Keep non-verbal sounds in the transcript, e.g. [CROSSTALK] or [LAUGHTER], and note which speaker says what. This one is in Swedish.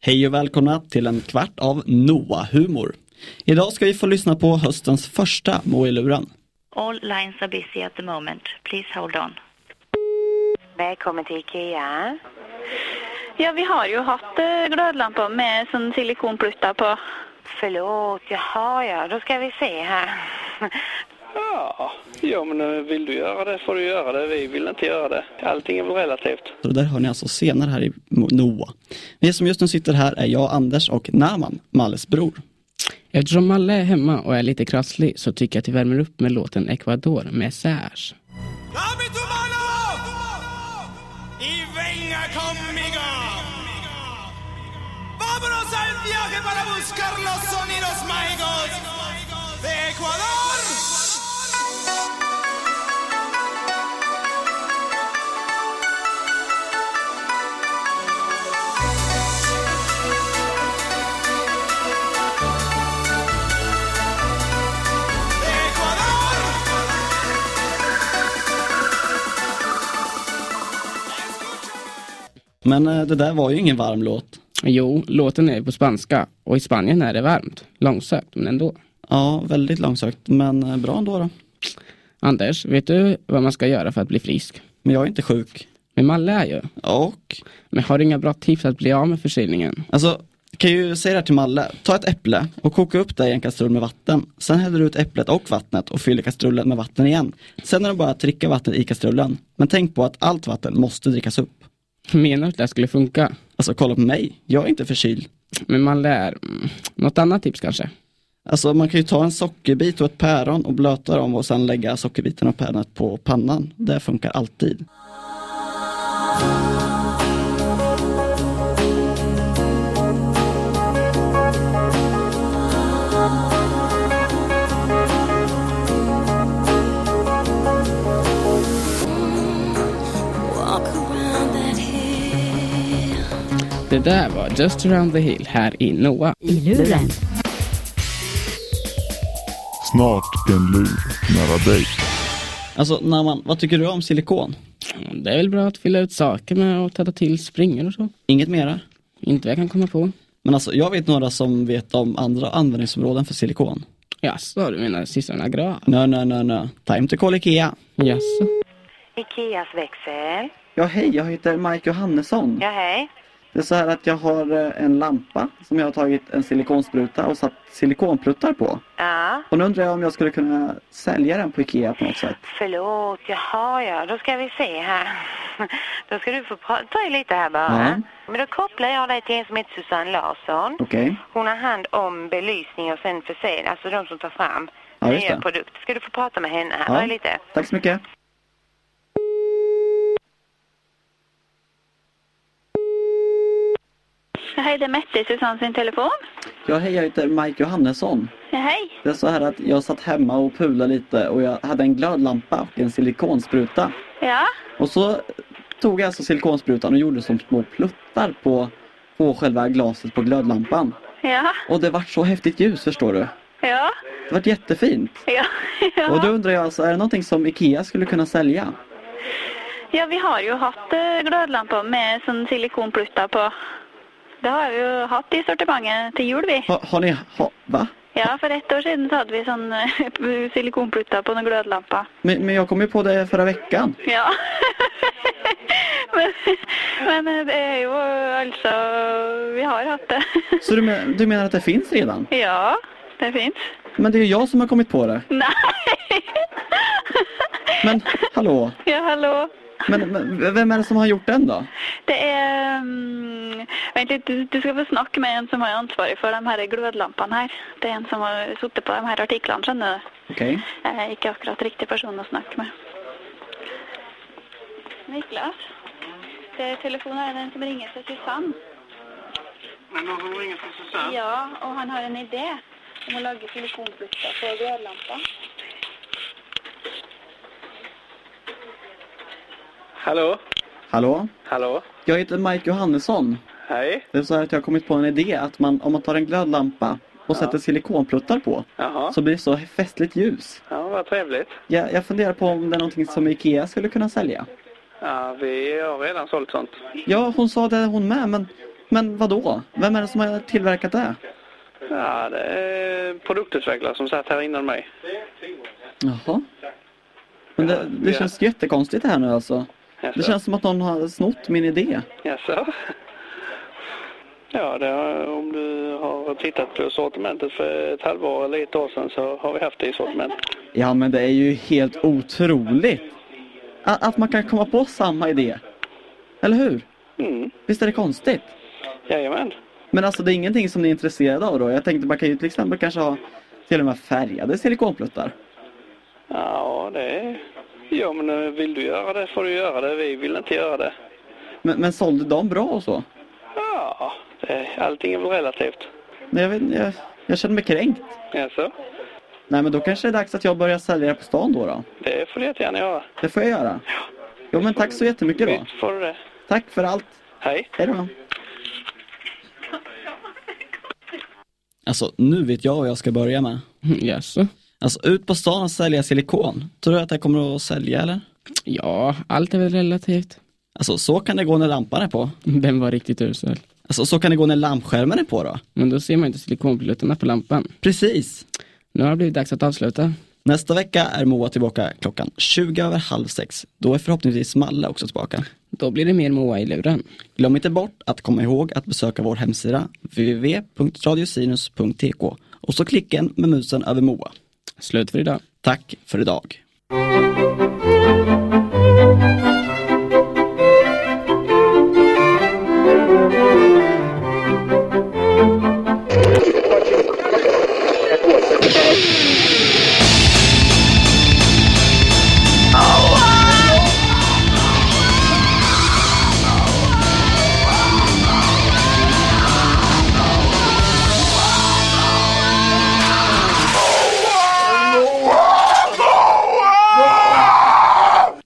Speaker 1: Hej och välkomna till en kvart av Noah-humor. Idag ska vi få lyssna på höstens första Må i luren.
Speaker 2: All lines are busy at the moment. Please hold on.
Speaker 3: Välkommen till IKEA.
Speaker 4: Ja, vi har ju haft eh, glödlampor med sån silikonplutta på.
Speaker 3: Förlåt, jaha ja, då ska vi se här. [LAUGHS]
Speaker 5: Ja, ja men eh, vill du göra det får du göra det. Vi vill inte göra det. Allting är väl relativt.
Speaker 1: Så det där hör ni alltså senare här i Mo- Noah. Vi som just nu sitter här är jag, Anders och Naman, Malles bror.
Speaker 6: Eftersom Malle är hemma och är lite krasslig så tycker jag att vi värmer upp med låten Ecuador med Serge.
Speaker 7: Damet och Malov! I vänga kommiga! Vámonos al viaje para buscar los sonidos mágicos de Ecuador! De Ecuador!
Speaker 1: Men eh, det där var ju ingen varm låt.
Speaker 6: Jo, låten är på spanska och i Spanien är det varmt. Långsökt, men ändå.
Speaker 1: Ja, väldigt långsökt, men eh, bra ändå då.
Speaker 6: Anders, vet du vad man ska göra för att bli frisk?
Speaker 1: Men jag är inte sjuk.
Speaker 6: Men Malle är ju.
Speaker 1: Och,
Speaker 6: Men har du inga bra tips att bli av med förkylningen?
Speaker 1: alltså, kan ju säga det här till Malle. Ta ett äpple och koka upp det i en kastrull med vatten. Sen häller du ut äpplet och vattnet och fyller kastrullen med vatten igen. Sen är det bara att dricka vattnet i kastrullen. Men tänk på att allt vatten måste drickas upp.
Speaker 6: Menar du att det här skulle funka?
Speaker 1: Alltså kolla på mig, jag är inte förkyld.
Speaker 6: Men Malle är... mm, Något annat tips kanske?
Speaker 1: Alltså man kan ju ta en sockerbit och ett päron och blöta dem och sen lägga sockerbiten och päronet på pannan. Det funkar alltid.
Speaker 6: Det där var Just around the hill här i Noah.
Speaker 2: I luren.
Speaker 8: Snart en lur nära dig.
Speaker 1: Alltså Naman, vad tycker du om silikon?
Speaker 6: Det är väl bra att fylla ut saker med och täta till springor och så.
Speaker 1: Inget mera?
Speaker 6: Inte vad jag kan komma på.
Speaker 1: Men alltså jag vet några som vet om andra användningsområden för silikon.
Speaker 6: Jaså, du menar systrarna Graf?
Speaker 1: Nö, nö, nö, nö. Time to call Ikea.
Speaker 6: Jaså?
Speaker 3: Ikeas växel.
Speaker 1: Ja, hej, jag heter Mike Johannesson.
Speaker 3: Ja, hej.
Speaker 1: Det är så här att jag har eh, en lampa som jag har tagit en silikonspruta och satt silikonpluttar på.
Speaker 3: Ja,
Speaker 1: Och nu undrar jag om jag skulle kunna sälja den på Ikea på något sätt.
Speaker 3: förlåt, jaha ja, då ska vi se här. [LAUGHS] Då ska du få prata lite här bara.
Speaker 1: Ja.
Speaker 3: Men då kopplar jag dig till en som heter Susanne Larsson.
Speaker 1: Okej.
Speaker 3: Hon har hand om belysning och sen försäljning, alltså de som tar fram
Speaker 1: Ja, just
Speaker 3: nya
Speaker 1: det.
Speaker 3: produkter. Ska du få prata med henne här
Speaker 1: Ja.
Speaker 3: bara lite?
Speaker 1: Tack så mycket.
Speaker 4: Ja, Hej, det är Mette i Susanne sin telefon.
Speaker 1: Ja, hej, jag heter Mike Johannesson.
Speaker 4: Ja, Hej.
Speaker 1: Det är så här att jag satt hemma och pulade lite och jag hade en glödlampa och en silikonspruta.
Speaker 4: Ja.
Speaker 1: Och så tog jag alltså silikonsprutan och gjorde som små pluttar på, på själva glaset på glödlampan.
Speaker 4: Ja.
Speaker 1: Och det vart så häftigt ljus förstår du.
Speaker 4: Ja.
Speaker 1: Det vart jättefint.
Speaker 4: Ja.
Speaker 1: Och då
Speaker 4: Ja.
Speaker 1: undrar jag alltså, är det någonting som IKEA skulle kunna sälja?
Speaker 4: ja, vi har ju haft eh, glödlampor med sån silikonplutta på. Det har vi ju haft i sortimentet till jul vi.
Speaker 1: Ha, har ni, ha, va?
Speaker 4: Ja, för ett år sedan så hade vi sån eh, silikonplutta på en glödlampa.
Speaker 1: Men, men jag kom ju på det förra veckan.
Speaker 4: Ja. [LAUGHS] men, men eh, det är ju eh, alltså, vi har haft det.
Speaker 1: Så du, men, du menar att det finns redan?
Speaker 4: ja, det finns.
Speaker 1: Men det är ju jag som har kommit på det.
Speaker 4: Nej.
Speaker 1: Men hallå,
Speaker 4: ja, hallå.
Speaker 1: men, men vem är det som har gjort den då?
Speaker 4: Det är... Um, vänta, lite, du, du ska få snacka med en som har ansvarig för de här glödlamporna här. Det är en som har suttit på de här artiklarna, känner du.
Speaker 1: Okej.
Speaker 4: Jag är inte akkurat riktig person att snacka med. Niklas? Det är telefonen är den som ringer till Susanne.
Speaker 5: Någon ringer till Susanne?
Speaker 4: Ja, och han har en idé om att laga silikonpluttar på glödlampan.
Speaker 5: Hallå?
Speaker 1: Hallå?
Speaker 5: Hallå?
Speaker 1: Jag heter Mike Johannesson.
Speaker 5: Hej?
Speaker 1: Det är så här att jag har kommit på en idé att man, om man tar en glödlampa och sätter silikonpluttar på
Speaker 5: Jaha.
Speaker 1: så blir det så festligt ljus.
Speaker 5: Ja, vad trevligt.
Speaker 1: Jag, jag funderar på om det är någonting som Ikea skulle kunna sälja.
Speaker 5: Ja, vi har redan sålt sånt.
Speaker 1: Ja, hon sa det hon med men, Men vad då? Vem är det som har tillverkat det?
Speaker 5: Ja, det är produktutvecklare som satt här innan mig.
Speaker 1: Jaha. Men det, det
Speaker 5: Ja.
Speaker 1: känns jättekonstigt det här nu alltså. Det
Speaker 5: Jaså?
Speaker 1: känns som att någon har snott min idé.
Speaker 5: Jaså? Ja, det har, om du har tittat på sortimentet för ett halvår eller ett år sedan så har vi haft det i sortimentet.
Speaker 1: Ja men det är ju helt otroligt. Att, att man kan komma på samma idé. Eller hur?
Speaker 5: Mm,
Speaker 1: Visst är det konstigt?
Speaker 5: jajamän.
Speaker 1: Men alltså det är ingenting som ni är intresserade av då? Jag tänkte man kan ju till exempel kanske ha till och med färgade silikonpluttar.
Speaker 5: Ja, det är... Ja, men eh, vill du göra det får du göra det. Vi vill inte göra det.
Speaker 1: Men, men sålde de bra och så?
Speaker 5: Ja, det, allting är väl relativt.
Speaker 1: Nej, jag, vet, jag, jag känner mig kränkt.
Speaker 5: Jaså?
Speaker 1: Nej men då kanske det är dags att jag börjar sälja det på stan då. då.
Speaker 5: Det får du jättegärna göra.
Speaker 1: Det får jag göra. Jo men tack så jättemycket då.
Speaker 5: Visst får du det.
Speaker 1: Tack för allt.
Speaker 5: Hej.
Speaker 1: Hej då. Alltså nu vet jag vad jag ska börja med.
Speaker 6: Jaså?
Speaker 1: Alltså ut på stan och sälja silikon. Tror du att jag kommer att sälja eller?
Speaker 6: Ja, allt är väl relativt.
Speaker 1: Alltså så kan det gå när lampan är på.
Speaker 6: Den var riktigt usel.
Speaker 1: Alltså så kan det gå när lampskärmen är på då.
Speaker 6: Men då ser man inte silikonpluttarna på lampan.
Speaker 1: Precis.
Speaker 6: Nu har det blivit dags att avsluta.
Speaker 1: Nästa vecka är Moa tillbaka klockan 20 över halv sex. Då är förhoppningsvis Malle också tillbaka.
Speaker 6: Då blir det mer Moa i luren.
Speaker 1: Glöm inte bort att komma ihåg att besöka vår hemsida www.radiosinus.tk och så klicken med musen över Moa.
Speaker 6: Slut för idag.
Speaker 1: Tack för idag.
Speaker 7: Thank